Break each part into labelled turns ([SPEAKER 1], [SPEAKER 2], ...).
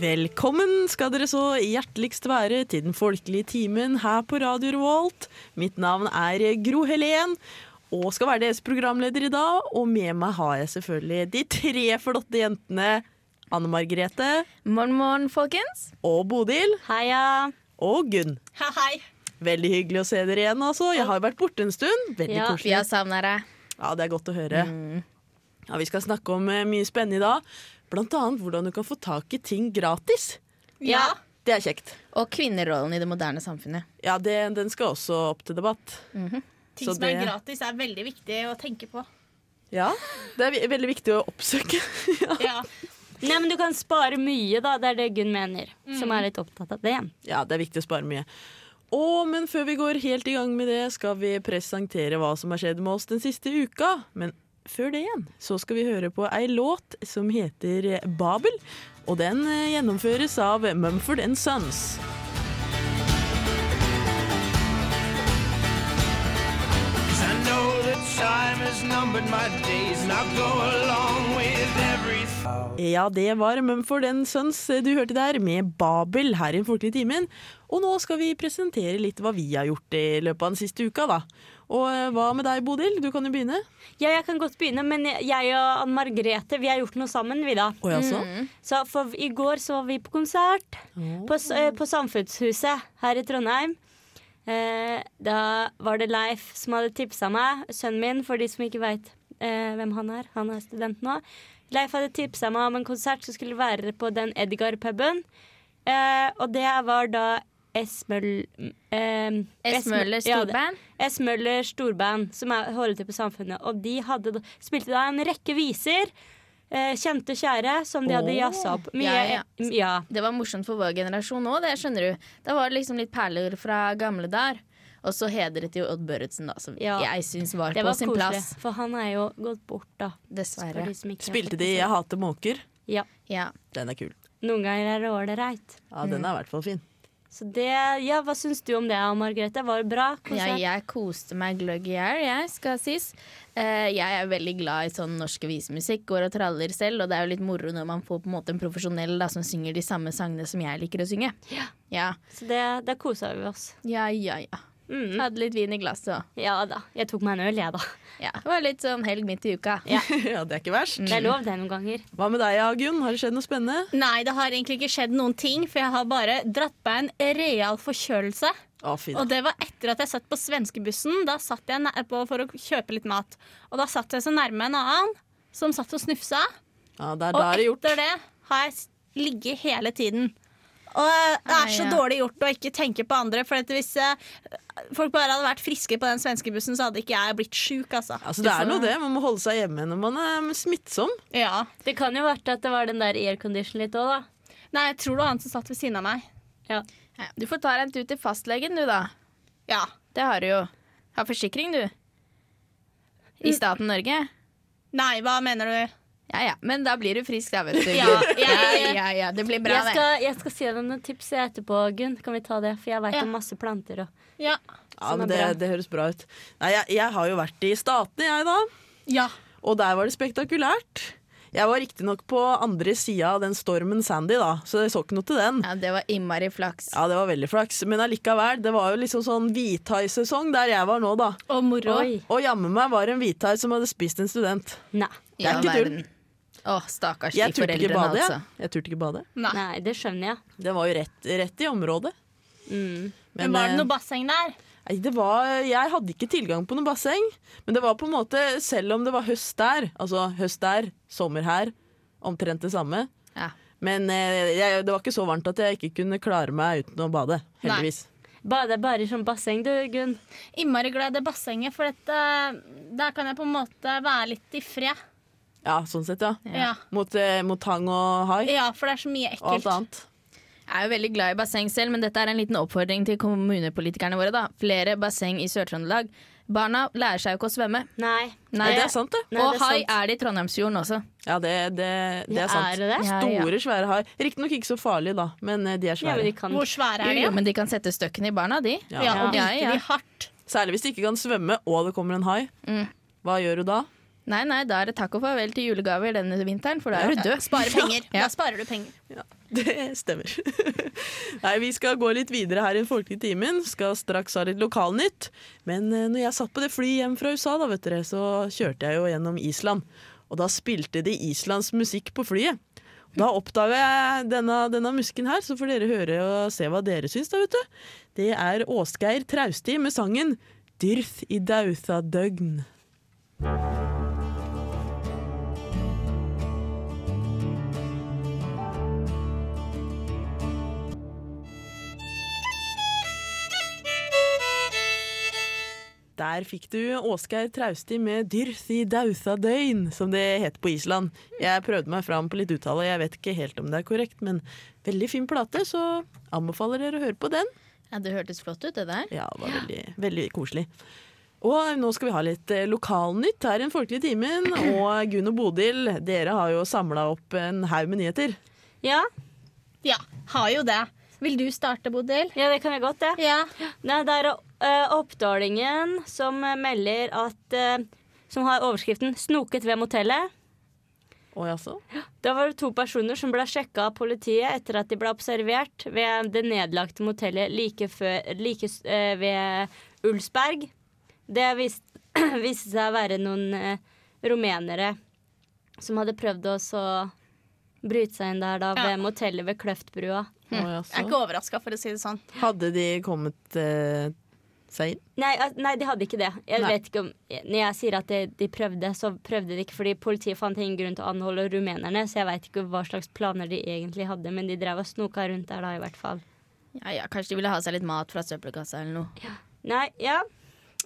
[SPEAKER 1] Velkommen skal dere så hjerteligst være til den folkelige timen her på Radio Revolt. Mitt navn er Gro Helen og skal være deres programleder i dag. Og med meg har jeg selvfølgelig de tre flotte jentene Anne Margrethe
[SPEAKER 2] Morgen, morgen, folkens.
[SPEAKER 1] og Bodil
[SPEAKER 2] Heia.
[SPEAKER 1] og Gunn.
[SPEAKER 3] Hei.
[SPEAKER 1] Veldig hyggelig å se dere igjen, altså. Jeg har jo vært borte en stund. Veldig
[SPEAKER 2] Ja, vi
[SPEAKER 1] koselig.
[SPEAKER 2] har savna deg.
[SPEAKER 1] Ja, det er godt å høre. Ja, vi skal snakke om eh, mye spennende i dag. Blant annet hvordan du kan få tak i ting gratis.
[SPEAKER 3] Ja.
[SPEAKER 1] Det er kjekt.
[SPEAKER 2] Og kvinnerollen i det moderne samfunnet.
[SPEAKER 1] Ja, det, den skal også opp til debatt.
[SPEAKER 3] Ting
[SPEAKER 1] Så
[SPEAKER 3] som er
[SPEAKER 1] det-
[SPEAKER 3] gratis, er veldig viktig å tenke på.
[SPEAKER 1] Ja, Det er ve- veldig viktig å oppsøke. ja.
[SPEAKER 3] Ja.
[SPEAKER 4] Nei, men du kan spare mye, da. Det er det Gunn mener,
[SPEAKER 3] Mm.
[SPEAKER 4] som er litt opptatt av det.
[SPEAKER 1] ja, det er viktig å spare mye. Å, men før vi går helt i gang med det, skal vi presentere hva som har skjedd med oss den siste uka. Men før det igjen, så skal vi høre på ei låt som heter Babel. Og den eh, gjennomføres av Mumford and Sons.
[SPEAKER 5] I know that time has numbered my days, and I'll go along with everything.
[SPEAKER 1] Ja, det var Mumford and Sons eh, du hørte der, med Babel her i Den folkelige timen. Og nå skal vi presentere litt hva vi har gjort i løpet av den siste uka, da. Og eh, hva med deg, Bodil? Du kan jo begynne.
[SPEAKER 4] Ja, jeg kan godt begynne, men jeg og Anne Margrethe vi har gjort noe sammen, vi da.
[SPEAKER 1] Å ja, så?
[SPEAKER 4] Så for i går så var vi på konsert på, s- eh, på Samfunnshuset her i Trondheim. Eh, da var det Leif som hadde tipsa meg, sønnen min, for de som ikke veit eh, hvem han er. Han er student nå. Leif hadde tipsa meg om en konsert som skulle være på den Edgar-puben. Eh, og det var da S. Møll... Eh,
[SPEAKER 2] S. Møller
[SPEAKER 4] Ja, det-
[SPEAKER 2] storband.
[SPEAKER 4] S. Møller storband, som er holder til på Samfunnet. Og de hadde, da- spilte da en rekke viser, eh, kjente og kjære, som de hadde
[SPEAKER 1] Åh.
[SPEAKER 4] jazza opp. Mye,
[SPEAKER 2] Ja,
[SPEAKER 4] ja,
[SPEAKER 2] ja. Det var morsomt for vår generasjon òg, det skjønner du. Da var det liksom litt perler fra gamle dager. Og så hedret jo Odd Børretzen, da, som
[SPEAKER 4] Ja.
[SPEAKER 2] jeg syns var,
[SPEAKER 4] Det
[SPEAKER 2] på
[SPEAKER 4] var
[SPEAKER 2] sin
[SPEAKER 4] koselig.
[SPEAKER 2] plass.
[SPEAKER 4] For han er jo gått bort, da. For
[SPEAKER 2] Dessverre.
[SPEAKER 4] de som ikke har
[SPEAKER 1] Spilte
[SPEAKER 4] fått
[SPEAKER 1] de
[SPEAKER 4] det.
[SPEAKER 1] 'Jeg hater måker'?
[SPEAKER 4] Ja.
[SPEAKER 2] Ja.
[SPEAKER 1] Den er kul.
[SPEAKER 4] Noen ganger er det ålreit.
[SPEAKER 1] Ja, den er i hvert fall fin.
[SPEAKER 4] Så det Ja, hva syns du om det, Anne Margrethe? Var det bra?
[SPEAKER 2] Ja,
[SPEAKER 4] konsert?
[SPEAKER 2] jeg koste meg gløgg i hjel, jeg, skal sies. Eh, jeg er veldig glad i sånn norsk visemusikk, går og traller selv, og det er jo litt moro når man får på en måte en profesjonell da, som synger de samme sangene som jeg liker å synge. Ja, ja,
[SPEAKER 4] Så det, da kosa vi oss.
[SPEAKER 2] ja. ja,
[SPEAKER 4] Mm.
[SPEAKER 2] Hadde litt vin i glasset òg.
[SPEAKER 4] Ja da. Jeg tok meg en øl, jeg, da.
[SPEAKER 2] Ja, det var litt sånn helg midt i uka.
[SPEAKER 1] ja, Det er ikke verst.
[SPEAKER 4] Det er lov, det, noen ganger.
[SPEAKER 1] Mm. Hva med deg, Agunn? Har det skjedd noe spennende?
[SPEAKER 3] Nei, det har egentlig ikke skjedd noen ting, for jeg har bare dratt meg en real forkjølelse.
[SPEAKER 1] Å, fint.
[SPEAKER 3] Og det var etter at jeg satt på svenskebussen. Da satt jeg nær- på for å kjøpe litt mat. Og da satt jeg så nærme en annen som satt og snufsa.
[SPEAKER 1] Ja, det er
[SPEAKER 3] Og
[SPEAKER 1] da det er gjort.
[SPEAKER 3] etter det har jeg s- ligget hele tiden. Og det er så
[SPEAKER 2] Nei, ja.
[SPEAKER 3] dårlig gjort å ikke tenke på andre. For at hvis eh, folk bare hadde vært friske på den svenskebussen, så hadde ikke jeg blitt sjuk, altså.
[SPEAKER 1] Altså, det er noe det. Man må holde seg hjemme når man er smittsom.
[SPEAKER 3] Ja.
[SPEAKER 4] Det kan jo vært at det var den der aircondition litt òg, da.
[SPEAKER 3] Nei, jeg tror det var han som satt ved siden av meg.
[SPEAKER 4] Ja.
[SPEAKER 2] Ja, Du får ta deg en tur til fastlegen du, da.
[SPEAKER 3] Ja.
[SPEAKER 2] Det har du jo. Har forsikring, du. I staten Norge.
[SPEAKER 3] Nei, hva mener du?
[SPEAKER 2] Ja ja, men da blir du frisk, da, vet du.
[SPEAKER 3] Ja, ja,
[SPEAKER 2] ja, ja, ja. Det blir bra,
[SPEAKER 4] jeg,
[SPEAKER 2] det.
[SPEAKER 4] skal, jeg skal si deg noen tips etterpå, Gunn. Kan vi ta det? For jeg veit
[SPEAKER 3] Ja.
[SPEAKER 4] om masse planter. Og.
[SPEAKER 3] Ja.
[SPEAKER 1] Ja,
[SPEAKER 4] Som
[SPEAKER 1] men Sånn
[SPEAKER 4] er
[SPEAKER 1] det,
[SPEAKER 4] bra.
[SPEAKER 1] det høres bra ut. Nei, jeg, jeg har jo vært i Statene, jeg, da.
[SPEAKER 3] Ja.
[SPEAKER 1] Og der var det spektakulært. Jeg var riktignok på andre sida av den stormen Sandy, da, så jeg så ikke noe til den.
[SPEAKER 2] Ja, det var innmari flaks.
[SPEAKER 1] Ja, det var veldig flaks, men allikevel. Det var jo liksom sånn hvithaisesong der jeg var nå, da.
[SPEAKER 3] Og moro.
[SPEAKER 4] Oi.
[SPEAKER 1] Og jammen meg var det en hvithai som hadde spist en student.
[SPEAKER 4] Nei.
[SPEAKER 1] Det er ikke tull.
[SPEAKER 2] Å, stakkars de
[SPEAKER 1] Jeg turte ikke
[SPEAKER 2] foreldrene,
[SPEAKER 1] bade, jeg.
[SPEAKER 2] altså.
[SPEAKER 1] Jeg turte ikke bade.
[SPEAKER 3] Nei.
[SPEAKER 4] Nei, det skjønner jeg.
[SPEAKER 1] Det var jo rett, rett i området.
[SPEAKER 3] Mm. Men, var det
[SPEAKER 1] eh,
[SPEAKER 3] noe basseng der?
[SPEAKER 1] Nei, det var, jeg hadde ikke tilgang på noe basseng, men det var på en måte, selv om det var høst der, altså høst der, sommer her, omtrent det samme.
[SPEAKER 2] Ja.
[SPEAKER 1] Men eh, jeg, det var ikke så varmt at jeg ikke kunne klare meg uten å bade, heldigvis.
[SPEAKER 4] Bade bare i sånn basseng, du, Gunn.
[SPEAKER 3] Innmari glad i det bassenget, for dette, der kan jeg på en måte være litt i fred.
[SPEAKER 1] Ja, sånn sett, ja.
[SPEAKER 3] Ja.
[SPEAKER 1] Mot, eh, mot tang og hai
[SPEAKER 3] Ja, for det er så mye
[SPEAKER 1] og alt
[SPEAKER 3] ekkelt.
[SPEAKER 1] annet.
[SPEAKER 2] Jeg er jo veldig glad i basseng selv, men dette er en liten oppfordring til kommunepolitikerne våre. da. Flere basseng i Sør-Trøndelag. Barna lærer seg jo ikke å svømme.
[SPEAKER 4] Nei.
[SPEAKER 1] Nei, det er sant, det.
[SPEAKER 4] Nei,
[SPEAKER 2] og
[SPEAKER 4] det er
[SPEAKER 2] hai
[SPEAKER 4] sant.
[SPEAKER 2] er det i Trondheimsfjorden også.
[SPEAKER 1] Ja, det, det, det
[SPEAKER 4] Ja,
[SPEAKER 1] er sant.
[SPEAKER 4] er det det?
[SPEAKER 2] Ja, ja.
[SPEAKER 1] Store, svære hai. Riktignok ikke så farlige, da, men eh, de er
[SPEAKER 4] Ja, men
[SPEAKER 1] svære.
[SPEAKER 4] de kan
[SPEAKER 3] Hvor svære er de?
[SPEAKER 2] Jo, men de kan sette støkken i barna, de.
[SPEAKER 1] Ja.
[SPEAKER 3] Ja, og
[SPEAKER 2] Ja,
[SPEAKER 3] biter
[SPEAKER 2] ja.
[SPEAKER 3] de hardt?
[SPEAKER 4] Mm.
[SPEAKER 1] Særlig hvis de ikke kan svømme og det kommer en hai. Hva gjør du da?
[SPEAKER 2] Nei, nei, da er det takk og farvel til julegaver denne vinteren, for da er du død.
[SPEAKER 3] Spare penger.
[SPEAKER 2] Ja.
[SPEAKER 3] Da sparer du penger.
[SPEAKER 1] Det stemmer. Nei, Vi skal gå litt videre her i den folkelige timen. Skal straks ha litt lokalnytt. Men eh, når jeg satt på det flyet hjem fra USA, da, vet dere, så kjørte jeg jo gjennom Island. Og da spilte de islandsk musikk på flyet. Og Da oppdaga jeg denne, denne musken her, så får dere høre og se hva dere syns. da, vet du. Det er Åsgeir Trausti med sangen 'Dyrth i dautha døgn'. Der fikk du Åsgeir Trausti med 'Dyrth i dautha døgn', som det het på Island. Jeg prøvde meg fram på litt uttale, jeg vet ikke helt om det er korrekt, men veldig fin plate, så anbefaler dere å høre på den.
[SPEAKER 2] Ja, det hørtes flott ut, det der.
[SPEAKER 1] Ja, det var veldig, veldig koselig. Og nå skal vi ha litt eh, lokalnytt her i Den folkelige timen. Og Gunn og Bodil, dere har jo samla opp en haug med nyheter.
[SPEAKER 4] Ja,
[SPEAKER 3] Ja, har jo det. Vil du starte, Bodil?
[SPEAKER 4] ja, det kan jeg godt, det.
[SPEAKER 3] Ja.
[SPEAKER 4] Nei, det er eh, Oppdalingen som eh, melder at eh, Som har overskriften 'Snoket ved motellet'.
[SPEAKER 1] Å jaså?
[SPEAKER 4] Da var det to personer som ble sjekka av politiet etter at de ble observert ved det nedlagte motellet like, før, like s- eh, ved Ulsberg. Det vis- viste seg å være noen eh, rumenere som hadde prøvd å så bryte seg inn der da, ved motellet ved Kløftbrua.
[SPEAKER 1] Å,
[SPEAKER 3] Jeg er
[SPEAKER 1] jaså.
[SPEAKER 3] ikke overraska, for å si det sånn.
[SPEAKER 1] Hadde de kommet eh, seg inn?
[SPEAKER 4] Nei, al- nei, de hadde ikke det. Jeg
[SPEAKER 1] Nei.
[SPEAKER 4] vet ikke om, når jeg sier at de, de prøvde, så prøvde de ikke fordi politiet fant ingen grunn til å anholde rumenerne, så jeg veit ikke hva slags planer de egentlig hadde, men de drev og snoka rundt der da, i hvert fall.
[SPEAKER 2] Ja, ja, Kanskje de ville ha seg litt mat fra søppelkassa eller noe.
[SPEAKER 4] Nei, ja.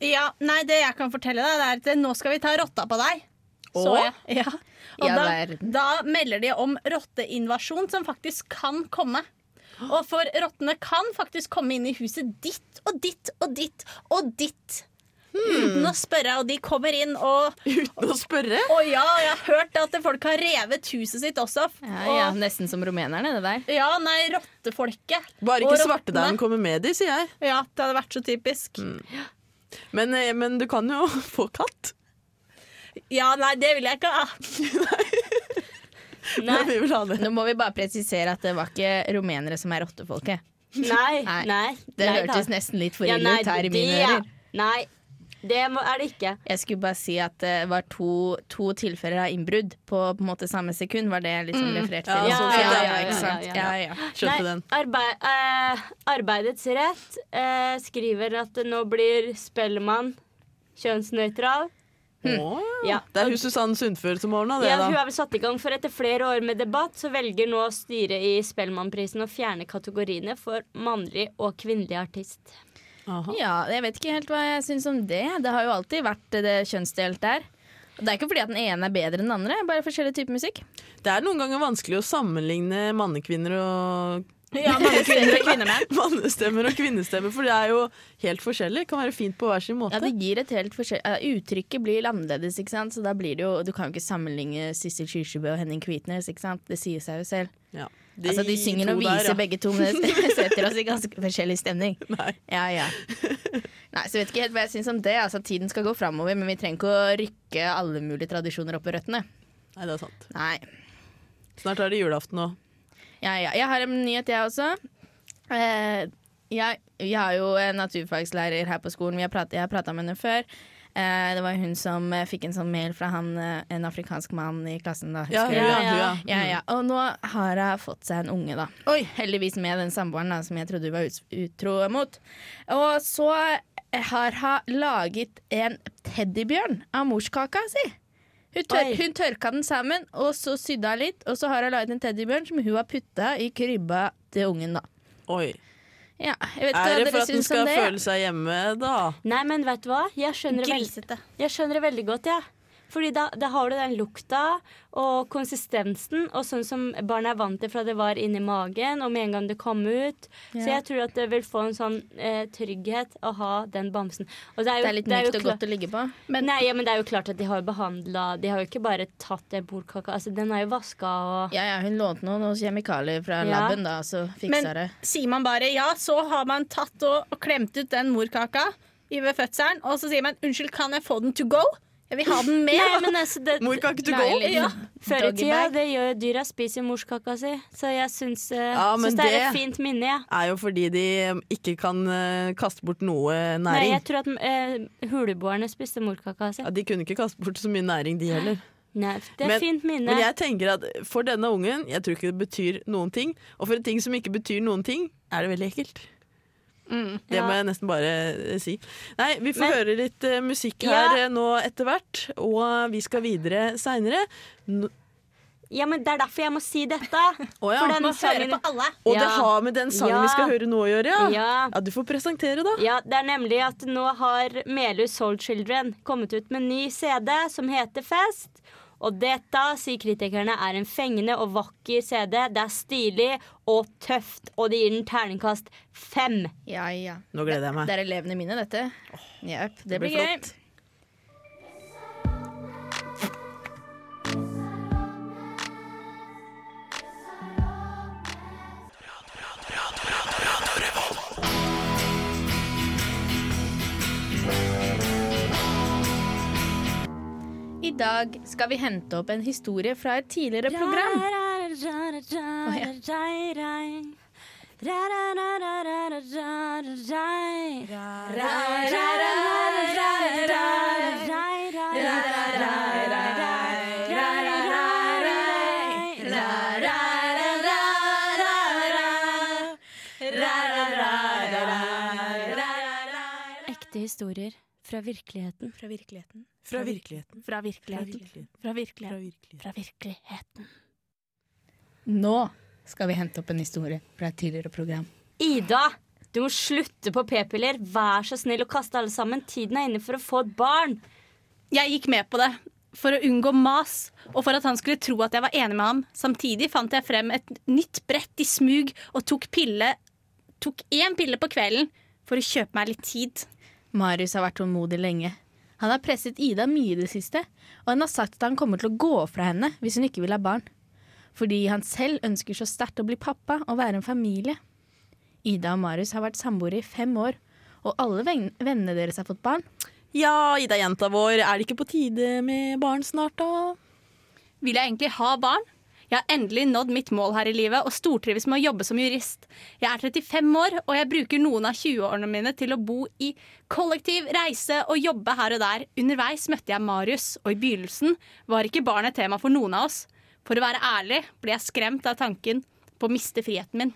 [SPEAKER 3] Ja, nei, det jeg kan fortelle deg, det er at nå skal vi ta rotta på deg. Så
[SPEAKER 1] Åh?
[SPEAKER 3] jeg. Ja. Og
[SPEAKER 2] Ja,
[SPEAKER 3] da,
[SPEAKER 2] verden.
[SPEAKER 3] da melder de om rotteinvasjon som faktisk kan komme. Og for rottene kan faktisk komme inn i huset ditt og ditt og ditt og ditt. Uten å spørre, og de kommer inn og
[SPEAKER 1] Uten å spørre?
[SPEAKER 3] Å ja, jeg har hørt at folk har revet huset sitt også.
[SPEAKER 2] Ja,
[SPEAKER 3] og,
[SPEAKER 2] ja, Nesten som rumenerne, det der.
[SPEAKER 3] ja, nei, rottefolket.
[SPEAKER 1] Bare ikke
[SPEAKER 3] Og rottene.
[SPEAKER 1] svartedauden kommer med de, sier jeg.
[SPEAKER 3] Ja, det hadde vært så typisk.
[SPEAKER 1] Men, eh, men du kan jo få katt.
[SPEAKER 3] Ja, nei, det vil jeg ikke ha.
[SPEAKER 1] Nei. Vi vil ha det.
[SPEAKER 2] Nå må vi bare presisere at det var ikke rumenere som er rottefolket.
[SPEAKER 4] Nei.
[SPEAKER 2] Nei.
[SPEAKER 4] nei.
[SPEAKER 2] Det
[SPEAKER 4] nei,
[SPEAKER 2] hørtes
[SPEAKER 4] da.
[SPEAKER 2] nesten litt for
[SPEAKER 4] Ja,
[SPEAKER 2] ille
[SPEAKER 4] nei,
[SPEAKER 2] ut her i mine
[SPEAKER 4] det-
[SPEAKER 2] ører.
[SPEAKER 4] Nei, det må, er det ikke.
[SPEAKER 2] Jeg skulle bare si at det var to, to tilfeller av innbrudd på, på en måte samme sekund. Var det jeg liksom refererte
[SPEAKER 1] Ja,
[SPEAKER 2] til? Ja,
[SPEAKER 1] sånn
[SPEAKER 2] ja,
[SPEAKER 1] sett,
[SPEAKER 2] ja,
[SPEAKER 1] ja, ja,
[SPEAKER 2] ikke sant.
[SPEAKER 4] ja,
[SPEAKER 2] Ja,
[SPEAKER 4] ja.
[SPEAKER 2] ja.
[SPEAKER 1] Skjønte
[SPEAKER 4] nei,
[SPEAKER 1] den.
[SPEAKER 4] Arbeid, eh, arbeidets rett eh, skriver at det nå blir Spellemann kjønnsnøytral.
[SPEAKER 1] Å, ja.
[SPEAKER 4] Ja.
[SPEAKER 1] Det er hun Susanne Sundfør som ordna det,
[SPEAKER 4] Ja, hun
[SPEAKER 1] da.
[SPEAKER 4] er vel satt i gang, for etter flere år med debatt så velger nå styret i Spellemannprisen å fjerne kategoriene for mannlig og kvinnelig artist.
[SPEAKER 1] Aha.
[SPEAKER 2] ja, jeg vet ikke helt hva jeg syns om det. Det har jo alltid vært det kjønnsdelt der. Og Det er ikke fordi at den ene er bedre enn den andre, bare forskjellig type musikk.
[SPEAKER 1] Det er noen ganger vanskelig å sammenligne mannekvinner og
[SPEAKER 3] Ja, mange kvinner og kvinner med.
[SPEAKER 1] Mannestemmer og kvinnestemmer, for det er jo helt forskjellig. Kan være fint på hver sin måte.
[SPEAKER 2] Ja, det gir et helt forskjell eh, Uttrykket blir annerledes, ikke sant? så da blir det jo Du kan jo ikke sammenligne Sissel Kyrkjebø og Henning Kvitnes, ikke sant? Det sier seg jo selv.
[SPEAKER 1] Ja.
[SPEAKER 2] De, altså, de synger og
[SPEAKER 1] to der,
[SPEAKER 2] viser
[SPEAKER 1] ja.
[SPEAKER 2] begge to, men det setter oss i ganske forskjellig stemning.
[SPEAKER 1] Nei.
[SPEAKER 2] Ja, ja. Nei, så vet ikke helt hva jeg syns om det. Altså, tiden skal gå framover, men vi trenger ikke å rykke alle mulige tradisjoner opp i røttene.
[SPEAKER 1] Nei, det er sant.
[SPEAKER 2] Nei.
[SPEAKER 1] Snart er det julaften òg.
[SPEAKER 2] Ja, ja. Jeg har en nyhet, jeg også. Eh, jeg, jeg har jo en naturfagslærer her på skolen. Vi har pratet, jeg har prata med henne før. Eh, det var hun som eh, fikk en sånn mail fra han, eh, en afrikansk mann i klassen. da
[SPEAKER 1] Ja,
[SPEAKER 2] husker
[SPEAKER 1] ja,
[SPEAKER 2] du?
[SPEAKER 1] ja.
[SPEAKER 2] Ja,
[SPEAKER 1] Mm.
[SPEAKER 2] ja. Og nå har hun fått seg en unge, da. Heldigvis med den samboeren da, som jeg trodde hun var ut- utro mot. Og så har hun laget en teddybjørn av morskaka si. Hun, tør,
[SPEAKER 4] Oi.
[SPEAKER 2] hun tørka den sammen, og så sydde hun litt. Og så har hun laget en teddybjørn som hun har putta i krybba til ungen, da.
[SPEAKER 1] Oi.
[SPEAKER 2] Ja, jeg vet ikke
[SPEAKER 1] Er
[SPEAKER 2] hva
[SPEAKER 1] det for
[SPEAKER 2] dere
[SPEAKER 1] at den
[SPEAKER 2] syns om
[SPEAKER 1] skal
[SPEAKER 2] det.
[SPEAKER 1] føle seg hjemme, da?
[SPEAKER 4] Nei, men vet du hva? Jeg skjønner det veldig
[SPEAKER 3] Grisete.
[SPEAKER 4] Jeg skjønner det veldig godt, jeg. Ja. Fordi da, da har du den lukta og konsistensen, og sånn som barna er vant til fra det var inni magen, og med en gang det kom ut. Så
[SPEAKER 2] Ja.
[SPEAKER 4] jeg tror at det vil få en sånn eh, trygghet å ha den bamsen. Og det er jo,
[SPEAKER 2] Det er litt
[SPEAKER 4] det er jo
[SPEAKER 2] mykt og
[SPEAKER 4] klart-
[SPEAKER 2] godt å ligge på.
[SPEAKER 4] Nei, ja, men det er jo klart at de har jo behandla De har jo ikke bare tatt den bordkaka. Altså, den er jo vaska og
[SPEAKER 2] Ja, ja, hun lånte noen, noen kjemikalier fra
[SPEAKER 4] Ja.
[SPEAKER 2] laben, da, og så fiksa
[SPEAKER 3] Men
[SPEAKER 2] det.
[SPEAKER 3] sier man bare ja, så har man tatt og, og klemt ut den morkaka i ved fødselen, og så sier man 'unnskyld, kan jeg få den to go'? Jeg vil ha den med.
[SPEAKER 4] Nei, men altså det,
[SPEAKER 1] Mor, kan ikke du gå?
[SPEAKER 2] Deilig.
[SPEAKER 3] Ja.
[SPEAKER 4] Før i tida,
[SPEAKER 2] Doggybag.
[SPEAKER 4] det gjør jo dyra, spiser jo morskaka si. Så jeg syns, eh,
[SPEAKER 1] Ja, men
[SPEAKER 4] syns det er
[SPEAKER 1] det-
[SPEAKER 4] et fint minne, jeg.
[SPEAKER 1] er jo fordi de eh, ikke kan eh, kaste bort noe
[SPEAKER 4] Nei,
[SPEAKER 1] næring.
[SPEAKER 4] jeg tror at eh, huleboerne spiste morkaka si.
[SPEAKER 1] Ja, de kunne ikke kaste bort så mye næring, de heller.
[SPEAKER 4] Nei, det er
[SPEAKER 1] Men-
[SPEAKER 4] et fint minne.
[SPEAKER 1] Men jeg tenker at for denne ungen, jeg tror ikke det betyr noen ting. Og for en ting som ikke betyr noen ting, er det veldig ekkelt. Det
[SPEAKER 4] Mm, Ja.
[SPEAKER 1] må jeg nesten bare eh, si. Nei, vi får
[SPEAKER 4] Men-
[SPEAKER 1] høre litt eh, musikk
[SPEAKER 4] Ja.
[SPEAKER 1] her eh, nå etter hvert, og eh, vi skal videre seinere.
[SPEAKER 4] Ja, men Det er derfor jeg må si dette.
[SPEAKER 1] Å ja.
[SPEAKER 4] For den
[SPEAKER 3] Må høre
[SPEAKER 4] sangen
[SPEAKER 3] på alle.
[SPEAKER 1] Og det
[SPEAKER 4] Ja.
[SPEAKER 1] har med den sangen
[SPEAKER 4] Ja.
[SPEAKER 1] vi skal høre nå å gjøre, ja.
[SPEAKER 4] Ja.
[SPEAKER 1] Ja, du får presentere, da.
[SPEAKER 4] ja, det er nemlig at nå har Melhus Soul Children kommet ut med en ny CD som heter Fest. Og dette, sier kritikerne, er en fengende og vakker CD. Det er stilig og tøft, og det gir den terningkast fem.
[SPEAKER 2] Ja, ja.
[SPEAKER 1] Nå gleder jeg meg.
[SPEAKER 2] Det er elevene mine, dette. Jepp, det, blir
[SPEAKER 1] blir
[SPEAKER 2] gøy.
[SPEAKER 1] flott.
[SPEAKER 2] I dag skal vi hente opp en historie fra et tidligere program.
[SPEAKER 4] Ekte historier fra virkeligheten.
[SPEAKER 3] Fra virkeligheten.
[SPEAKER 1] Fra virkeligheten.
[SPEAKER 3] Fra
[SPEAKER 1] virkeligheten.
[SPEAKER 3] Fra
[SPEAKER 1] Fra
[SPEAKER 3] virkeligheten.
[SPEAKER 1] virkeligheten.
[SPEAKER 3] Fra virkeligheten.
[SPEAKER 2] Nå skal vi hente opp en historie fra et tidligere program.
[SPEAKER 4] Ida, du må slutte på p-piller. Vær så snill å kaste alle sammen. Tiden er inne for å få et barn.
[SPEAKER 3] Jeg gikk med på det for å unngå mas, og for at han skulle tro at jeg var enig med ham. Samtidig fant jeg frem et nytt brett i smug og tok pille Tok én pille på kvelden for å kjøpe meg litt tid.
[SPEAKER 2] Marius har vært tålmodig lenge. Han har presset Ida mye i det siste, og han har sagt at han kommer til å gå fra henne hvis hun ikke vil ha barn. Fordi han selv ønsker så sterkt å bli pappa og være en familie. Ida og Marius har vært samboere i fem år, og alle ven- vennene deres har fått barn.
[SPEAKER 1] Ja, Ida, jenta vår, er det ikke på tide med barn snart, da?
[SPEAKER 3] Vil jeg egentlig ha barn? Jeg har endelig nådd mitt mål her i livet og stortrives med å jobbe som jurist. Jeg er 35 år, og jeg bruker noen av 20-årene mine til å bo i kollektiv, reise og jobbe her og der. Underveis møtte jeg Marius, og i begynnelsen var ikke barn et tema for noen av oss. For å være ærlig ble jeg skremt av tanken på å miste friheten min.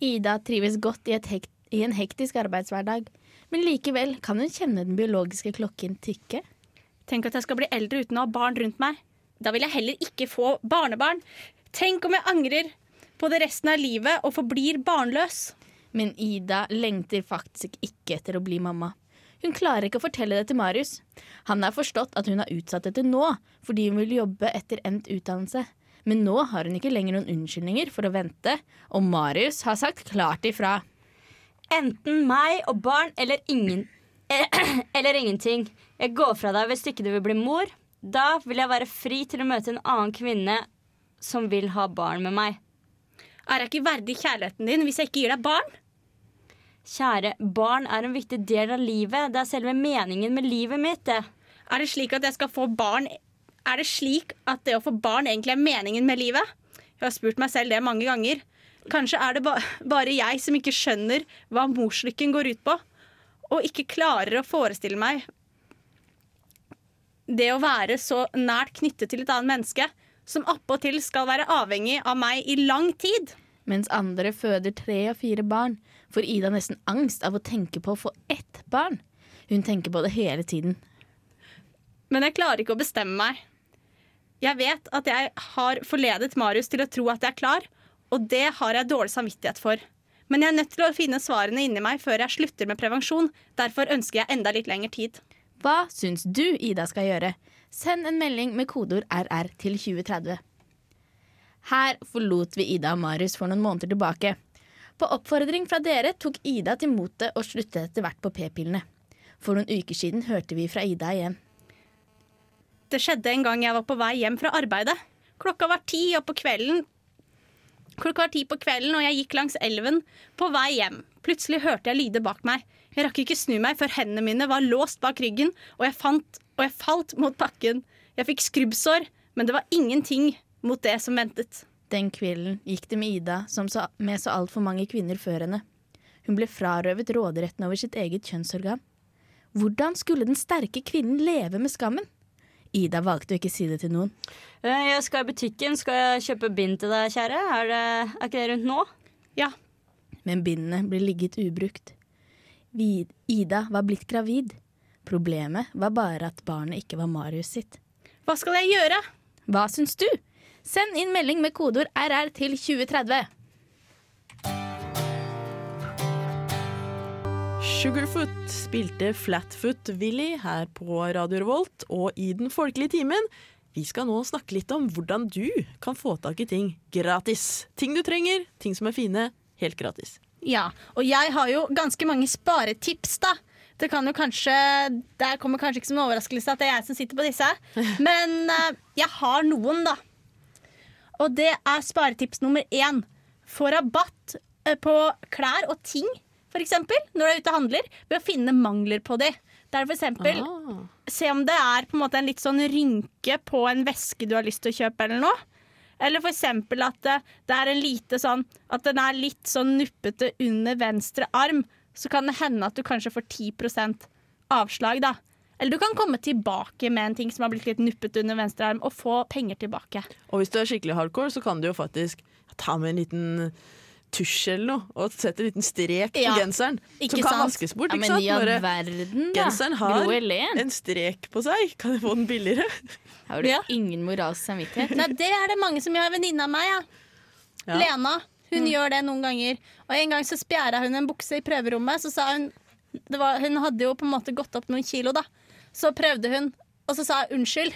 [SPEAKER 2] Ida trives godt i, et hekt, i en hektisk arbeidshverdag, men likevel kan hun kjenne den biologiske klokken tikke.
[SPEAKER 3] Tenk at jeg skal bli eldre uten å ha barn rundt meg. Da vil jeg heller ikke få barnebarn. Tenk om jeg angrer på det resten av livet og forblir barnløs.
[SPEAKER 2] Men Ida lengter faktisk ikke etter å bli mamma. Hun klarer ikke å fortelle det til Marius. Han har forstått at hun har utsatt det til nå, fordi hun vil jobbe etter endt utdannelse. Men nå har hun ikke lenger noen unnskyldninger for å vente, og Marius har sagt klart ifra.
[SPEAKER 4] Enten meg og barn eller ingen Eller ingenting. Jeg går fra deg hvis ikke du vil bli mor. Da vil jeg være fri til å møte en annen kvinne som vil ha barn med meg.
[SPEAKER 3] Er jeg ikke verdig kjærligheten din hvis jeg ikke gir deg barn?
[SPEAKER 4] Kjære, barn er en viktig del av livet. Det er selve meningen med livet mitt. det.
[SPEAKER 3] Er det slik at jeg skal få barn Er det slik at det å få barn egentlig er meningen med livet? Jeg har spurt meg selv det mange ganger. Kanskje er det ba bare jeg som ikke skjønner hva morslykken går ut på, og ikke klarer å forestille meg det å være så nært knyttet til et annet menneske, som appåtil skal være avhengig av meg i lang tid.
[SPEAKER 2] Mens andre føder tre og fire barn, får Ida nesten angst av å tenke på å få ett barn. Hun tenker på det hele tiden.
[SPEAKER 3] Men jeg klarer ikke å bestemme meg. Jeg vet at jeg har forledet Marius til å tro at jeg er klar, og det har jeg dårlig samvittighet for. Men jeg er nødt til å finne svarene inni meg før jeg slutter med prevensjon. Derfor ønsker jeg enda litt lengre tid.
[SPEAKER 2] Hva syns du Ida skal gjøre? Send en melding med kodeord RR til 2030. Her forlot vi Ida og Marius for noen måneder tilbake. På oppfordring fra dere tok Ida til motet og sluttet etter hvert på p-pillene. For noen uker siden hørte vi fra Ida igjen.
[SPEAKER 3] Det skjedde en gang jeg var på vei hjem fra arbeidet. Klokka var ti, og på kvelden Klokka var ti på kvelden, og jeg gikk langs elven på vei hjem. Plutselig hørte jeg lyder bak meg. Jeg rakk ikke snu meg før hendene mine var låst bak ryggen, og jeg, fant, og jeg falt mot bakken. Jeg fikk skrubbsår, men det var ingenting mot det som ventet.
[SPEAKER 2] Den kvelden gikk det med Ida, som så, med så altfor mange kvinner før henne. Hun ble frarøvet råderetten over sitt eget kjønnsorgan. Hvordan skulle den sterke kvinnen leve med skammen? Ida valgte å ikke si det til noen.
[SPEAKER 4] Eh, Jeg skal i butikken. Skal jeg kjøpe bind til deg, kjære? Er, det, er ikke det rundt nå?
[SPEAKER 3] Ja,
[SPEAKER 2] men bindene ble ligget ubrukt. Vid Ida var blitt gravid. Problemet var bare at barnet ikke var Marius sitt.
[SPEAKER 3] hva skal jeg gjøre?
[SPEAKER 2] Hva syns du? Send inn melding med kodeord RR til 2030.
[SPEAKER 1] Sugarfoot spilte Flatfoot Willy her på Radio Revolt, og i den folkelige timen vi skal nå snakke litt om hvordan du kan få tak i ting gratis. Ting du trenger, ting som er fine, helt gratis.
[SPEAKER 3] Ja, og jeg har jo ganske mange sparetips, da. Det kan jo kanskje, der kommer kanskje ikke som en overraskelse at det er jeg som sitter på disse. Men eh, jeg har noen, da. Og det er sparetips nummer én. Få rabatt eh, på klær og ting, f.eks. når du er ute og handler, ved å finne mangler på de. Der for eksempel,
[SPEAKER 1] Ah.
[SPEAKER 3] se om det er på en måte en litt sånn rynke på en veske du har lyst til å kjøpe eller noe. Eller for eksempel at det, det er en lite sånn At den er litt sånn nuppete under venstre arm, så kan det hende at du kanskje får 10 avslag, da. Eller du kan komme tilbake med en ting som har blitt litt nuppete under venstre arm, og få penger tilbake.
[SPEAKER 1] Og hvis du er skikkelig hardcore, så kan du jo faktisk ta med en liten tusj eller noe, og sette en liten strek på
[SPEAKER 3] Ja,
[SPEAKER 1] genseren.
[SPEAKER 3] ikke
[SPEAKER 1] Som kan
[SPEAKER 3] sant?
[SPEAKER 1] vaskes bort, ikke
[SPEAKER 2] Ja, men
[SPEAKER 1] sant?
[SPEAKER 2] i all
[SPEAKER 1] Bare
[SPEAKER 2] verden, da.
[SPEAKER 1] genseren
[SPEAKER 2] Gro
[SPEAKER 1] har
[SPEAKER 2] Helen.
[SPEAKER 1] en strek på seg. Kan jeg få den billigere?
[SPEAKER 2] Har du
[SPEAKER 3] Ja.
[SPEAKER 2] ingen moralsk samvittighet?
[SPEAKER 3] Nei, det er det mange som gjør. Venninne av meg, ja.
[SPEAKER 1] Ja. Mm.
[SPEAKER 3] Lena. Hun gjør det noen ganger. Og en gang så spjæra hun en bukse i prøverommet, så sa hun det var, Hun hadde jo på en måte gått opp noen kilo, da. Så prøvde hun, og så sa hun unnskyld.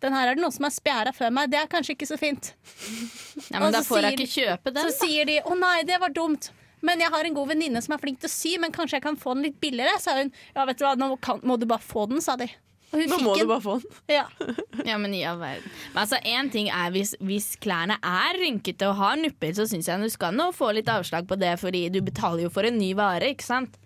[SPEAKER 3] Den her er det noen som har spjæra før meg. Det er kanskje ikke så fint.
[SPEAKER 2] Nei, men
[SPEAKER 3] Og
[SPEAKER 2] da
[SPEAKER 3] så
[SPEAKER 2] får jeg
[SPEAKER 3] sier-
[SPEAKER 2] ikke kjøpe den.
[SPEAKER 3] Så sier de å nei, det var dumt. Men jeg har en god venninne som er flink til å sy, men kanskje jeg kan få den litt billigere, sa hun. Ja, vet du hva, nå kan, må du bare få den, sa de. Og hun
[SPEAKER 1] Nå
[SPEAKER 3] fikk
[SPEAKER 1] må du
[SPEAKER 3] den.
[SPEAKER 1] bare få den.
[SPEAKER 3] Ja.
[SPEAKER 2] Ja, men i all verden. Men altså, en ting er hvis, hvis klærne er rynkete og har nupper, så syns jeg du skal nå få litt avslag på det, fordi du betaler jo for en ny vare, ikke sant?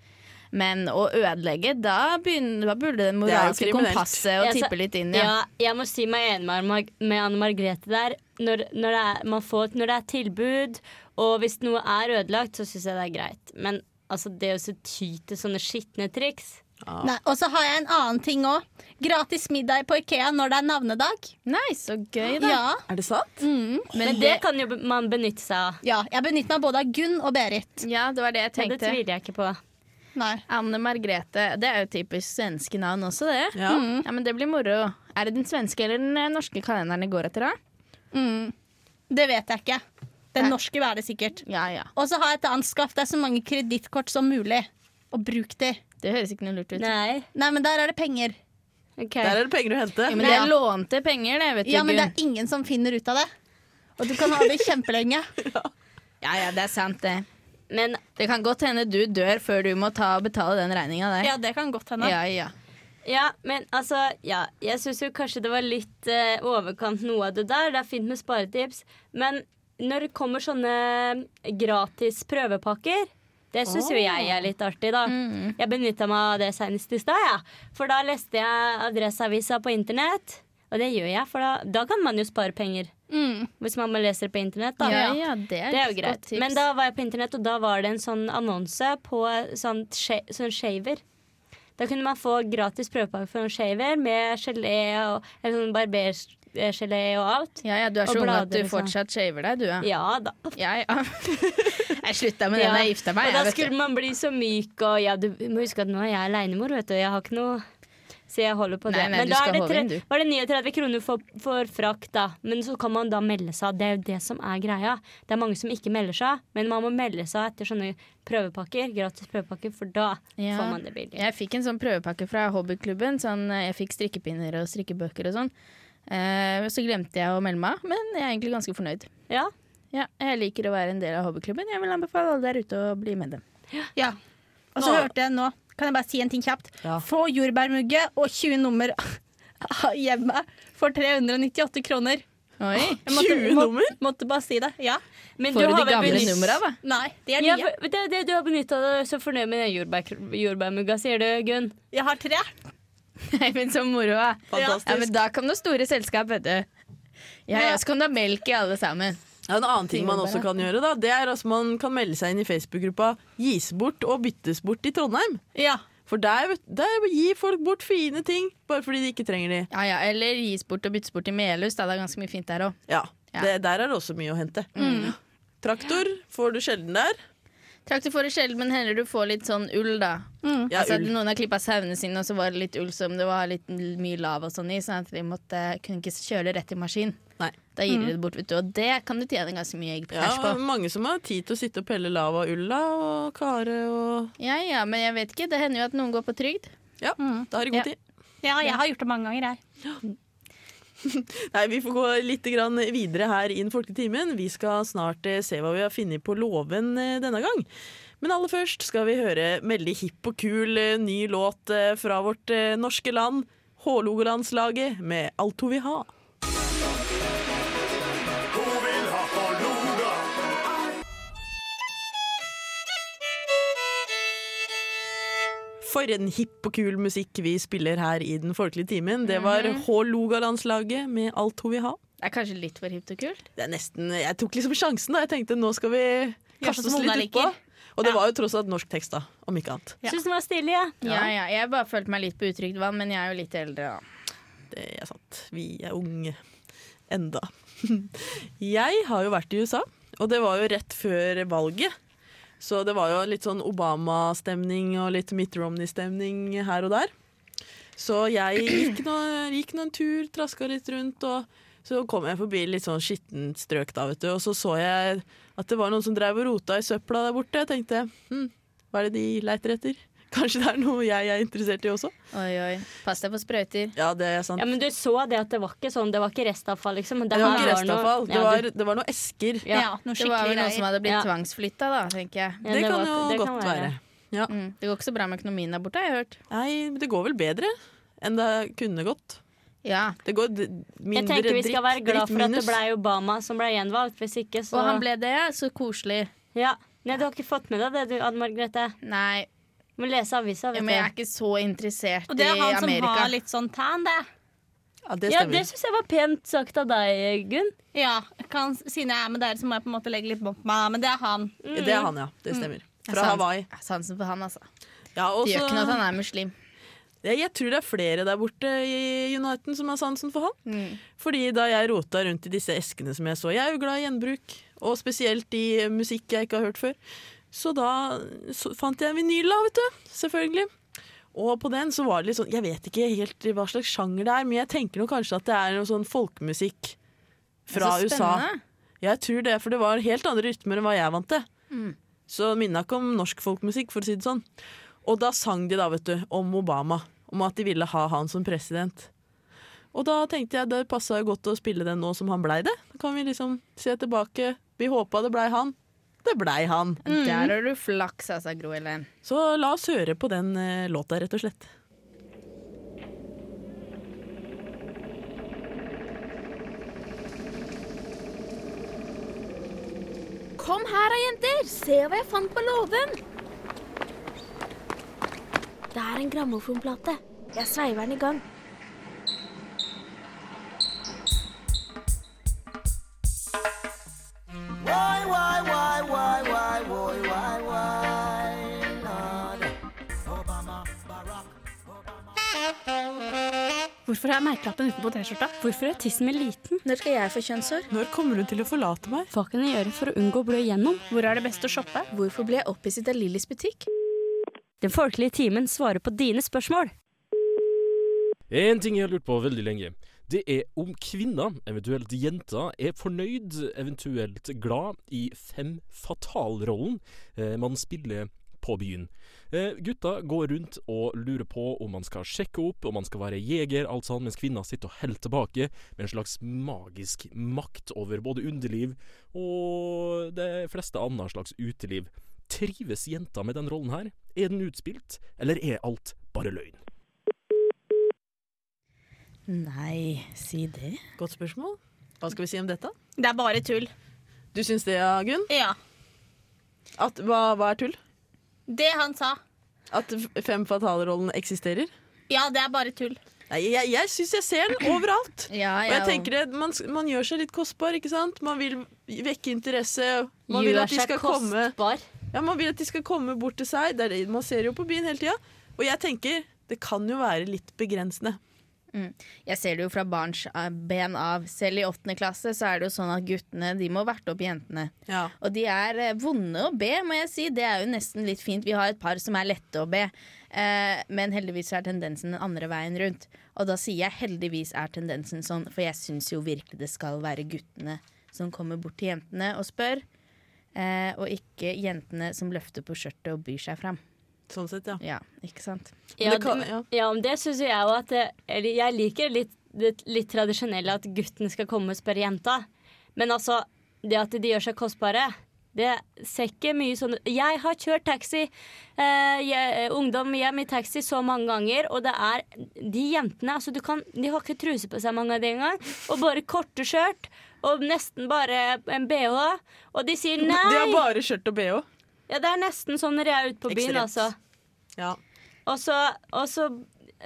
[SPEAKER 2] Men å ødelegge, da, begynner, da burde det moralske
[SPEAKER 1] kriminelt.
[SPEAKER 2] kompasset å
[SPEAKER 4] Jeg sa-
[SPEAKER 2] tippe litt inn,
[SPEAKER 4] Ja.
[SPEAKER 2] ja.
[SPEAKER 4] jeg må si meg enig med, Anne Mar- med Anne Margrethe der. Når, når, det er, man får, når det er tilbud, og hvis noe er ødelagt, så syns jeg det er greit. Men altså, det å så ty til sånne skitne triks
[SPEAKER 3] Nei, og så har jeg en annen ting òg. Gratis middag på Ikea når det er navnedag.
[SPEAKER 2] Nei, så gøy, da.
[SPEAKER 3] Ja.
[SPEAKER 1] Er det sant?
[SPEAKER 2] Mm.
[SPEAKER 4] Men, det, kan jo be- man benytte seg av.
[SPEAKER 3] Ja, jeg benytter meg både av Gunn og Berit.
[SPEAKER 2] Ja, det var det jeg
[SPEAKER 4] Men det
[SPEAKER 2] tenkte.
[SPEAKER 4] tviler jeg ikke på.
[SPEAKER 3] Nei.
[SPEAKER 2] Anne Margrethe. Det er jo typisk svenske navn også, det. Mm.
[SPEAKER 1] Ja.
[SPEAKER 2] Ja, men det blir moro. Er det den svenske eller den eh, norske kalenderen det går etter, da?
[SPEAKER 3] Mm. Det vet jeg ikke. Den
[SPEAKER 2] Nei.
[SPEAKER 3] norske er det sikkert.
[SPEAKER 2] Ja ja.
[SPEAKER 3] Og så har jeg et annet skaff. Det er så mange kredittkort som mulig. Og bruk de.
[SPEAKER 2] Det høres ikke noe lurt ut.
[SPEAKER 4] Nei.
[SPEAKER 3] Nei, men der er det penger.
[SPEAKER 4] ok
[SPEAKER 1] Der er det penger å hente.
[SPEAKER 2] Jo, men det er lånte penger, det, vet du,
[SPEAKER 3] Ja, men det
[SPEAKER 2] Gunn.
[SPEAKER 3] er ingen som finner ut av det. Og du kan ha det kjempelenge.
[SPEAKER 2] Ja ja, det er sant, det.
[SPEAKER 4] Men
[SPEAKER 2] Det kan godt hende du dør før du må ta og betale den regninga der.
[SPEAKER 3] Ja, det kan godt hende.
[SPEAKER 2] ja, ja.
[SPEAKER 4] Ja, men altså, ja, jeg syns jo kanskje det var litt eh, overkant noe av det der. Det er fint med sparetips, men når det kommer sånne eh, gratis prøvepakker, det syns jo jeg er litt artig, da.
[SPEAKER 2] Mm.
[SPEAKER 4] Jeg benytta meg av det senest i stad, jeg. Ja. For da leste jeg Adresseavisa på internett, og det gjør jeg, for da, da kan man jo spare penger.
[SPEAKER 3] Mm.
[SPEAKER 4] Hvis man bare leser på internett, da.
[SPEAKER 2] Ja, ja, det er,
[SPEAKER 4] Det er
[SPEAKER 2] et
[SPEAKER 4] jo
[SPEAKER 2] godt
[SPEAKER 4] greit.
[SPEAKER 2] tips.
[SPEAKER 4] Men da var jeg på internett, og da var det en sånn annonse på sånn, sha- sånn shaver. Da kunne man få gratis prøvepakke for en shaver med gelé og eller sånn barbergelé og alt.
[SPEAKER 2] ja, ja, du er
[SPEAKER 4] Og
[SPEAKER 2] så ung at
[SPEAKER 4] blader,
[SPEAKER 2] du
[SPEAKER 4] liksom.
[SPEAKER 2] fortsatt shaver deg, du, ja.
[SPEAKER 4] Ja da.
[SPEAKER 2] Ja, ja. Jeg slutta med det
[SPEAKER 4] Ja.
[SPEAKER 2] da jeg gifta meg.
[SPEAKER 4] og da
[SPEAKER 2] jeg, vet
[SPEAKER 4] skulle
[SPEAKER 2] du.
[SPEAKER 4] man bli så myk og ja, Du må huske at nå er jeg alenemor, vet du. Jeg har ikke noe Så jeg holder på det.
[SPEAKER 2] Nei, nei,
[SPEAKER 4] Men
[SPEAKER 2] du
[SPEAKER 4] da
[SPEAKER 2] skal
[SPEAKER 4] er det
[SPEAKER 2] holde inn, du.
[SPEAKER 4] var det 39 kroner for, for frakt, da. Men så kan man da melde seg av. Det er jo det som er greia. Det er mange som ikke melder seg, men man må melde seg etter sånne prøvepakker. Gratis prøvepakker, for da
[SPEAKER 2] Ja.
[SPEAKER 4] får man det billig.
[SPEAKER 2] jeg fikk en sånn prøvepakke fra hobbyklubben. Sånn, eh, jeg fikk strikkepinner og strikkebøker og sånn. Eh, så glemte jeg å melde meg, men jeg er egentlig ganske fornøyd.
[SPEAKER 4] Ja.
[SPEAKER 2] Ja, jeg liker å være en del av hobbyklubben. Jeg vil anbefale alle der ute å bli med dem.
[SPEAKER 3] Ja. Og så
[SPEAKER 1] Nå-
[SPEAKER 3] hørte jeg nå Kan jeg bare si en ting kjapt?
[SPEAKER 1] Ja.
[SPEAKER 3] Få jordbærmugge og 20 nummer av hjemmet for 398 kroner.
[SPEAKER 2] Oi.
[SPEAKER 3] Jeg måtte-
[SPEAKER 1] 20
[SPEAKER 3] må-
[SPEAKER 1] nummer?
[SPEAKER 3] Måtte bare si det. Ja.
[SPEAKER 4] Men
[SPEAKER 2] Får du de
[SPEAKER 4] vel
[SPEAKER 2] gamle
[SPEAKER 4] benytt-
[SPEAKER 2] numra, da?
[SPEAKER 3] Nei, de er
[SPEAKER 4] Ja,
[SPEAKER 3] nye.
[SPEAKER 4] for- det er det du har benytta deg så fornøyd med den jordbær- jordbærmugga, sier du, Gunn.
[SPEAKER 3] Jeg har tre.
[SPEAKER 2] Nei, men så moro, da.
[SPEAKER 1] Fantastisk.
[SPEAKER 2] Ja, men da kom det store selskap, vet du. Ja, ja, så kom det melk i alle sammen.
[SPEAKER 1] Ja, en annen ting man
[SPEAKER 2] Jordbær,
[SPEAKER 1] også
[SPEAKER 2] ja.
[SPEAKER 1] kan gjøre, da, det er at man kan melde seg inn i Facebook-gruppa Gis bort og byttes bort i Trondheim.
[SPEAKER 3] Ja.
[SPEAKER 1] For der, vet- der gir folk bort fine ting bare fordi de ikke trenger de.
[SPEAKER 2] Ja, ja, Eller gis bort og byttes bort i Melhus. Da. Det er ganske mye fint der òg.
[SPEAKER 1] Ja,
[SPEAKER 2] Ja. Mm.
[SPEAKER 1] Det, Der er det også mye å hente. Traktor får du sjelden der.
[SPEAKER 2] Traktor får det sjelden, men heller du får litt sånn ull, da.
[SPEAKER 1] Mm. Ja,
[SPEAKER 2] altså,
[SPEAKER 1] ull.
[SPEAKER 2] Noen har klippa sauene sine, og så var det litt ull som det var litt mye lav og sånn i, sånn at de måtte, kunne ikke kjøle rett i maskin.
[SPEAKER 1] Nei.
[SPEAKER 2] Da gir de det bort, vet du. Og det kan du tjene ganske mye
[SPEAKER 1] Mm. Ja,
[SPEAKER 2] cash på.
[SPEAKER 1] mange som har tid til å sitte og pelle lav av ulla og kare og
[SPEAKER 2] Ja, ja, men jeg vet ikke. Det hender jo at noen går på trygd.
[SPEAKER 1] Ja, da har de god
[SPEAKER 2] Mm. Ja.
[SPEAKER 1] tid.
[SPEAKER 3] ja, jeg har gjort det mange ganger, jeg.
[SPEAKER 1] Nei, Vi får gå litt grann videre her i den folketimen. Vi skal snart eh, se hva vi har funnet på låven eh, denne gang. Men aller først skal vi høre veldig hipp og kul eh, ny låt eh, fra vårt eh, norske land, Hålogalandslaget, med 'Alto vi ha'. For en hipp og kul musikk vi spiller her i Den folkelige timen. Det var
[SPEAKER 3] Mhm.
[SPEAKER 1] Hålogalandslaget med 'Alt ho vi ha'.
[SPEAKER 2] Det er kanskje litt for hipt og kult.
[SPEAKER 1] Det er nesten, jeg tok liksom sjansen. da Jeg tenkte nå skal vi kaste
[SPEAKER 3] som
[SPEAKER 1] oss
[SPEAKER 3] Mona
[SPEAKER 1] litt utpå.
[SPEAKER 3] liker.
[SPEAKER 1] Og det var jo tross alt norsk tekst, da. Om ikke annet.
[SPEAKER 4] Synes Syns den var stilig, ja.
[SPEAKER 2] Ja, ja. Jeg har bare følt meg litt på utrygt vann, men jeg er jo litt eldre, da.
[SPEAKER 1] Det er sant. eh, Vi er unge. Enda. Jeg har jo vært i USA, og det var jo rett før valget. Så det var jo litt sånn Obama-stemning og litt Mitt Romney-stemning her og der. Så jeg gikk, nå, gikk nå en tur, traska litt rundt, og så kom jeg forbi litt sånn skittent strøk da, vet du. Og så så jeg at det var noen som drev og rota i søpla der borte. Jeg tenkte hm, hva er det de leiter etter? Kanskje det er noe jeg er interessert i også?
[SPEAKER 2] Oi, oi. Pass deg for sprøyter.
[SPEAKER 1] Ja, det er sant.
[SPEAKER 4] Ja, Men du så det at det var ikke sånn, det var ikke restavfall, liksom.
[SPEAKER 1] Det var ikke
[SPEAKER 4] her noe-
[SPEAKER 1] restavfall. Det
[SPEAKER 4] Ja,
[SPEAKER 1] var,
[SPEAKER 4] du-
[SPEAKER 1] det var noe esker.
[SPEAKER 4] Ja.
[SPEAKER 3] Ja, noe
[SPEAKER 2] Det var
[SPEAKER 3] skikkelig
[SPEAKER 2] vel noen som
[SPEAKER 3] greier.
[SPEAKER 2] hadde blitt
[SPEAKER 4] Ja.
[SPEAKER 2] tvangsflytta, da, tenker jeg.
[SPEAKER 4] ja,
[SPEAKER 1] det, kan
[SPEAKER 4] var-
[SPEAKER 1] jo
[SPEAKER 4] det kan
[SPEAKER 1] godt være.
[SPEAKER 4] være.
[SPEAKER 1] Ja.
[SPEAKER 2] Mm. Det går ikke så bra med økonomien der borte, har jeg hørt.
[SPEAKER 1] Nei, men det går vel bedre enn det kunne gått.
[SPEAKER 2] Ja.
[SPEAKER 1] Det går d-
[SPEAKER 4] Jeg
[SPEAKER 1] mindre
[SPEAKER 4] tenker vi skal være glad for at det
[SPEAKER 1] drittminus.
[SPEAKER 4] ble Obama som ble gjenvalgt. Hvis ikke, så
[SPEAKER 2] Og han ble det, så koselig.
[SPEAKER 4] ja. Nei, Du har ikke fått med deg det, du, Anne Margrethe.
[SPEAKER 2] Nei,
[SPEAKER 4] Du må lese avisa.
[SPEAKER 2] ja,
[SPEAKER 4] Vet
[SPEAKER 2] men jeg er
[SPEAKER 4] du.
[SPEAKER 2] ikke så interessert
[SPEAKER 3] Og
[SPEAKER 2] i
[SPEAKER 3] det er han som
[SPEAKER 2] Amerika.
[SPEAKER 3] har litt sånn tan, det.
[SPEAKER 1] Ja, det
[SPEAKER 4] Ja,
[SPEAKER 1] stemmer.
[SPEAKER 4] det syns jeg var pent sagt av deg, Gunn.
[SPEAKER 3] Ja, kan, Siden jeg er med dere, så må jeg på en måte legge litt bånd på meg. Men det er han.
[SPEAKER 1] det,
[SPEAKER 4] mm.
[SPEAKER 1] er han, ja. Det stemmer.
[SPEAKER 2] Jeg
[SPEAKER 1] Fra
[SPEAKER 2] har sans-
[SPEAKER 1] Hawaii.
[SPEAKER 2] jeg har Sansen for han, altså.
[SPEAKER 1] Ja, og
[SPEAKER 2] Det gjør ikke noe at
[SPEAKER 1] så-
[SPEAKER 2] han er muslim.
[SPEAKER 1] jeg, jeg tror det er flere der borte i Uniten som har sansen for han.
[SPEAKER 2] Mm.
[SPEAKER 1] Fordi da jeg rota rundt i disse eskene som jeg så Jeg er jo glad i gjenbruk, og spesielt i musikk jeg ikke har hørt før. Så da så fant jeg vinyl, da, vet du. Selvfølgelig. Og på den så var det litt sånn Jeg vet ikke helt hva slags sjanger det er, men jeg tenker nå kanskje at det er noe sånn folkemusikk fra
[SPEAKER 2] Så
[SPEAKER 1] USA.
[SPEAKER 2] spennende.
[SPEAKER 1] Jeg tror det, for det var helt andre rytmer enn hva jeg vant til. Så det minna ikke om norsk folkmusikk, for å si det sånn. Og da sang de da, vet du, om Obama. Om at de ville ha han som president. Og da tenkte jeg det passa jo godt å spille den nå som han blei det. Da kan vi liksom se tilbake. Vi håpa det blei han. Det blei han.
[SPEAKER 2] Der har du flaks, altså, Gro Helen.
[SPEAKER 1] Så la oss høre på den eh, låta, rett og slett.
[SPEAKER 6] Kom her da, jenter. Se hva jeg fant på låven. Det er en grammofonplate. Jeg sveiver den i gang.
[SPEAKER 3] Hvorfor har jeg merkelappen utenpå T-skjorta?
[SPEAKER 4] Hvorfor er tissen min liten?
[SPEAKER 2] Når skal jeg få kjønnshår?
[SPEAKER 1] Når kommer hun til å forlate meg?
[SPEAKER 4] Hva kan jeg gjøre for å unngå å blø igjennom?
[SPEAKER 3] Hvor er det best å shoppe?
[SPEAKER 2] Hvorfor ble jeg opphisset av Lillys butikk?
[SPEAKER 4] Den folkelige timen svarer på dine spørsmål.
[SPEAKER 7] En ting jeg har lurt på veldig lenge, det er om kvinner, eventuelt jenter, er fornøyd, eventuelt glad, i fem fatal-rollen eh, man spiller på byen. Eh, gutta går rundt og lurer på om man skal sjekke opp, om man skal være jeger, alt sånn, mens kvinner sitter og holder tilbake med en slags magisk makt over både underliv og de fleste andre slags uteliv. Trives jenta med den rollen her? Er den utspilt, eller er alt bare løgn?
[SPEAKER 2] Nei, si det.
[SPEAKER 1] Godt spørsmål. Hva skal vi si om dette?
[SPEAKER 3] Det er bare tull.
[SPEAKER 1] Du syns det, ja, Gunn?
[SPEAKER 3] Ja.
[SPEAKER 1] At, hva, hva er tull?
[SPEAKER 3] Det han sa.
[SPEAKER 1] At f- fem fatalrollen eksisterer?
[SPEAKER 3] Ja, det er bare tull.
[SPEAKER 1] Nei, jeg, jeg syns jeg ser den overalt.
[SPEAKER 2] Ja,
[SPEAKER 1] Og jeg tenker det, man, s- man gjør seg litt kostbar, ikke sant? Man vil vekke interesse. Man vil
[SPEAKER 4] Gjør
[SPEAKER 1] at de
[SPEAKER 4] seg
[SPEAKER 1] skal komme
[SPEAKER 4] kostbar.
[SPEAKER 1] Ja, Man vil at de skal komme bort til seg. Det er det, man ser jo på byen hele tida. Og jeg tenker det kan jo være litt begrensende.
[SPEAKER 2] Jeg ser det jo fra barns eh, ben av. Selv i åttende klasse så er det jo sånn at guttene de må verte opp jentene.
[SPEAKER 1] Ja.
[SPEAKER 2] Og de er eh, vonde å be, må jeg si. Det er jo nesten litt fint. Vi har et par som er lette å be. Eh, men heldigvis er tendensen den andre veien rundt. Og da sier jeg heldigvis er tendensen sånn, for jeg syns jo virkelig det skal være guttene som kommer bort til jentene og spør. Eh, og ikke jentene som løfter på skjørtet og byr seg fram.
[SPEAKER 1] Sånn sett, ja.
[SPEAKER 2] Ja, ikke sant?
[SPEAKER 4] Ja,
[SPEAKER 1] det kan- ja.
[SPEAKER 4] det- ja, men det syns jo jeg òg at det- Eller jeg liker litt, det litt tradisjonelle at gutten skal komme og spørre jenta. Men altså, det at de gjør seg kostbare det ser ikke mye sånn Jeg har kjørt taxi, eh, jeg, eh, ungdom hjem i taxi så mange ganger, og det er de jentene altså du kan, De har ikke truse på seg mange av de engang, og bare korte skjørt, og nesten bare en bh, og de sier
[SPEAKER 1] De har
[SPEAKER 4] nei!
[SPEAKER 1] bare skjørt og bh.
[SPEAKER 4] Ja, det er nesten sånn når jeg er ute på byen,
[SPEAKER 1] Ekstremt.
[SPEAKER 4] altså.
[SPEAKER 1] Ja.
[SPEAKER 4] Og så, og så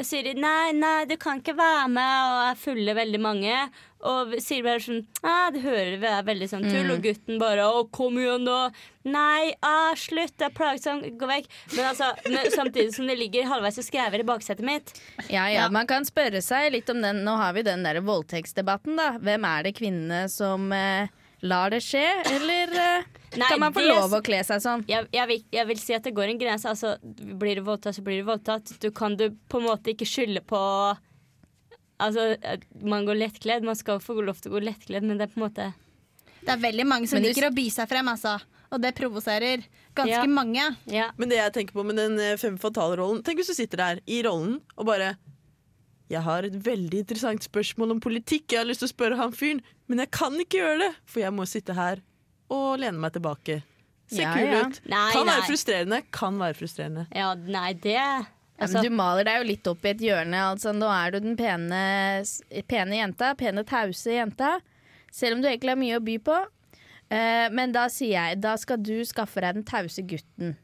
[SPEAKER 4] sier de nei, nei, du kan ikke være med, og er fulle veldig mange. Og sier bare sånn ah, du hører det er veldig sånn tull, og gutten bare å, kom igjen, da. Nei, ah, slutt, det er plagsomt, gå vekk. Men altså, men, samtidig som det ligger halvveis og skrever i baksetet mitt.
[SPEAKER 2] Ja, ja, man kan spørre seg litt om den. Nå har vi den der voldtektsdebatten, da. Hvem er det kvinnene som eh, lar det skje, eller eh,
[SPEAKER 4] Nei,
[SPEAKER 2] kan man få
[SPEAKER 4] det-
[SPEAKER 2] lov å kle seg sånn?
[SPEAKER 4] Jeg, jeg, vil, jeg vil si at det går en grense. Altså, blir du voldtatt, så blir du voldtatt. Du kan du på en måte ikke skylde på Altså, at man går lettkledd. Man skal få lov til å gå lettkledd, men det er på en måte
[SPEAKER 3] Det er veldig mange som
[SPEAKER 2] Men du-
[SPEAKER 3] liker å by seg frem, altså. Og det provoserer
[SPEAKER 4] Ja.
[SPEAKER 3] ganske mange.
[SPEAKER 4] Ja.
[SPEAKER 1] Men det jeg tenker på med den eh, fem fatale-rollen Tenk hvis du sitter der i rollen og bare Jeg har et veldig interessant spørsmål om politikk. Jeg har lyst til å spørre han fyren, men jeg kan ikke gjøre det, for jeg må sitte her og lene meg tilbake. Se
[SPEAKER 2] Ja,
[SPEAKER 1] kul
[SPEAKER 2] ja.
[SPEAKER 1] ut.
[SPEAKER 4] Nei,
[SPEAKER 1] kan være
[SPEAKER 4] nei.
[SPEAKER 1] frustrerende. Kan være frustrerende.
[SPEAKER 4] Ja, nei, det
[SPEAKER 2] Ja,
[SPEAKER 4] altså,
[SPEAKER 2] men du maler deg jo litt opp i et hjørne. Altså, nå er du den pene, s- pene jenta, pene tause jenta. Selv om du egentlig har mye å by på. Eh, men da sier jeg, da skal du skaffe deg den tause gutten.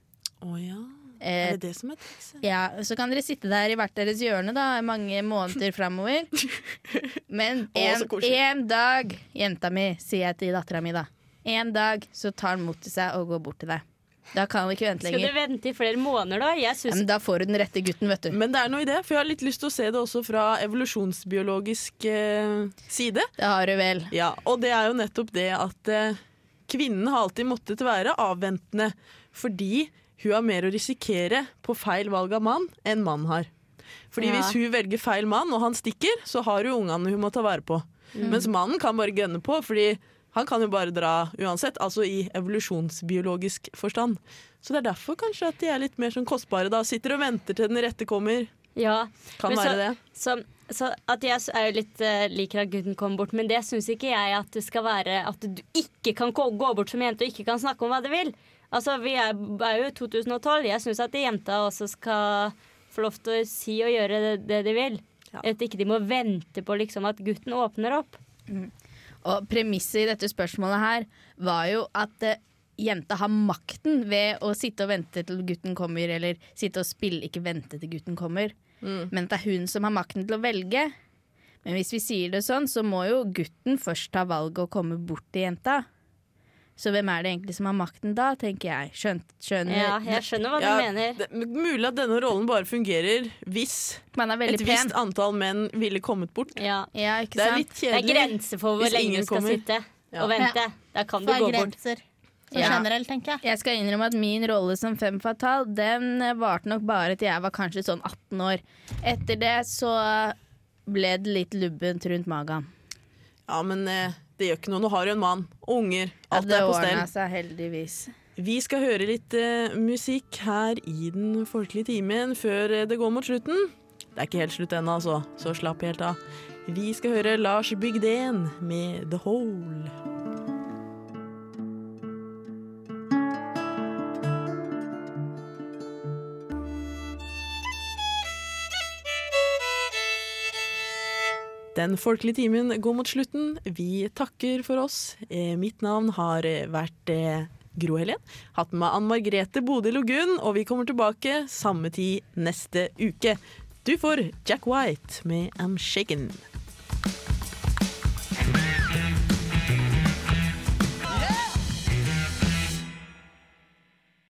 [SPEAKER 1] Å ja.
[SPEAKER 2] Eh,
[SPEAKER 1] Er det det som er trikset?
[SPEAKER 2] ja, så kan dere sitte der i hvert deres hjørne da, i mange måneder framover. Men
[SPEAKER 1] Å, så
[SPEAKER 2] en,
[SPEAKER 1] koselig.
[SPEAKER 2] en dag, jenta mi, sier jeg til dattera mi da. En dag så tar han mot til seg og går bort til deg. Da kan vi ikke vente
[SPEAKER 4] Skal du
[SPEAKER 2] lenger.
[SPEAKER 4] vente i flere måneder, da? Jeg
[SPEAKER 2] Ja,
[SPEAKER 4] synes,
[SPEAKER 2] men da får du den rette gutten, vet du.
[SPEAKER 1] Men det er noe i det, for jeg har litt lyst til å se det også fra evolusjonsbiologisk eh, side.
[SPEAKER 2] Det har du vel.
[SPEAKER 1] Ja, og det er jo nettopp det at eh, kvinnen har alltid måttet være avventende, fordi hun har mer å risikere på feil valg av mann enn mann har. Fordi
[SPEAKER 4] Ja.
[SPEAKER 1] hvis hun velger feil mann, og han stikker, så har hun ungene hun må ta vare på.
[SPEAKER 4] Mm.
[SPEAKER 1] Mens mannen kan bare gønne på, fordi han kan jo bare dra uansett, altså i evolusjonsbiologisk forstand. Så det er derfor kanskje at de er litt mer sånn kostbare da, sitter og venter til den rette kommer.
[SPEAKER 4] ja.
[SPEAKER 1] Kan
[SPEAKER 4] Men så-
[SPEAKER 1] være det.
[SPEAKER 4] Så, så at jeg s- er jo litt eh, liker at gutten kommer bort, men det syns ikke jeg at det skal være at du ikke kan gå, gå bort som jente og ikke kan snakke om hva du vil. Altså, vi er, er jo i 2012. Jeg syns at de jenta også skal få lov til å si og gjøre det, det de vil.
[SPEAKER 1] Ja.
[SPEAKER 4] At ikke de må vente på liksom, at gutten åpner opp.
[SPEAKER 2] Og premisset i dette spørsmålet her var jo at eh, jenta har makten ved å sitte og vente til gutten kommer, eller sitte og spille ikke vente til gutten kommer.
[SPEAKER 1] Mm.
[SPEAKER 2] Men at det er hun som har makten til å velge. Men hvis vi sier det sånn, så må jo gutten først ta valget og komme bort til jenta. Så hvem er det egentlig som har makten da, tenker jeg. Skjønt, skjønner
[SPEAKER 4] Ja, jeg skjønner hva
[SPEAKER 1] Ja,
[SPEAKER 4] du mener.
[SPEAKER 1] det, mulig at denne rollen bare fungerer hvis
[SPEAKER 2] Man er
[SPEAKER 1] et
[SPEAKER 2] veldig
[SPEAKER 1] visst
[SPEAKER 2] pen.
[SPEAKER 1] antall menn ville kommet bort.
[SPEAKER 4] Ja.
[SPEAKER 2] Ja, ikke
[SPEAKER 1] Det er
[SPEAKER 2] sant?
[SPEAKER 1] litt
[SPEAKER 4] Det er
[SPEAKER 1] kjedelig.
[SPEAKER 4] grenser for
[SPEAKER 1] Hvis
[SPEAKER 4] hvor lenge
[SPEAKER 1] ingen
[SPEAKER 4] du skal
[SPEAKER 1] kommer.
[SPEAKER 4] sitte
[SPEAKER 1] Ja.
[SPEAKER 4] og vente. Da kan du
[SPEAKER 3] Det er
[SPEAKER 4] gå bort.
[SPEAKER 3] grenser. Så
[SPEAKER 2] Ja.
[SPEAKER 3] generelt, tenker jeg.
[SPEAKER 2] Jeg skal innrømme at min rolle som fem fatal Den eh, varte nok bare til jeg var kanskje sånn 18 år Etter det så ble det litt lubbent rundt magen
[SPEAKER 1] Ja, men eh, det gjør ikke noe. Nå har du en mann og unger.
[SPEAKER 2] At
[SPEAKER 1] Alt
[SPEAKER 2] det
[SPEAKER 1] er på
[SPEAKER 2] ordnet
[SPEAKER 1] stell.
[SPEAKER 2] seg heldigvis
[SPEAKER 1] Vi skal høre litt eh, musikk her i den folkelige timen før eh, det går mot slutten. Det er ikke helt slutt ennå, altså, så slapp helt av. Vi skal høre Lars Bygden med The Hole. Det Den folkelige timen går mot slutten. Vi takker for oss. Eh, Mitt navn har eh, vært eh, Gro Helen. Hatt med Ann Margrethe Bodil og Gunn, og vi kommer tilbake samme tid neste uke. Du får Jack White med I'm Shaken.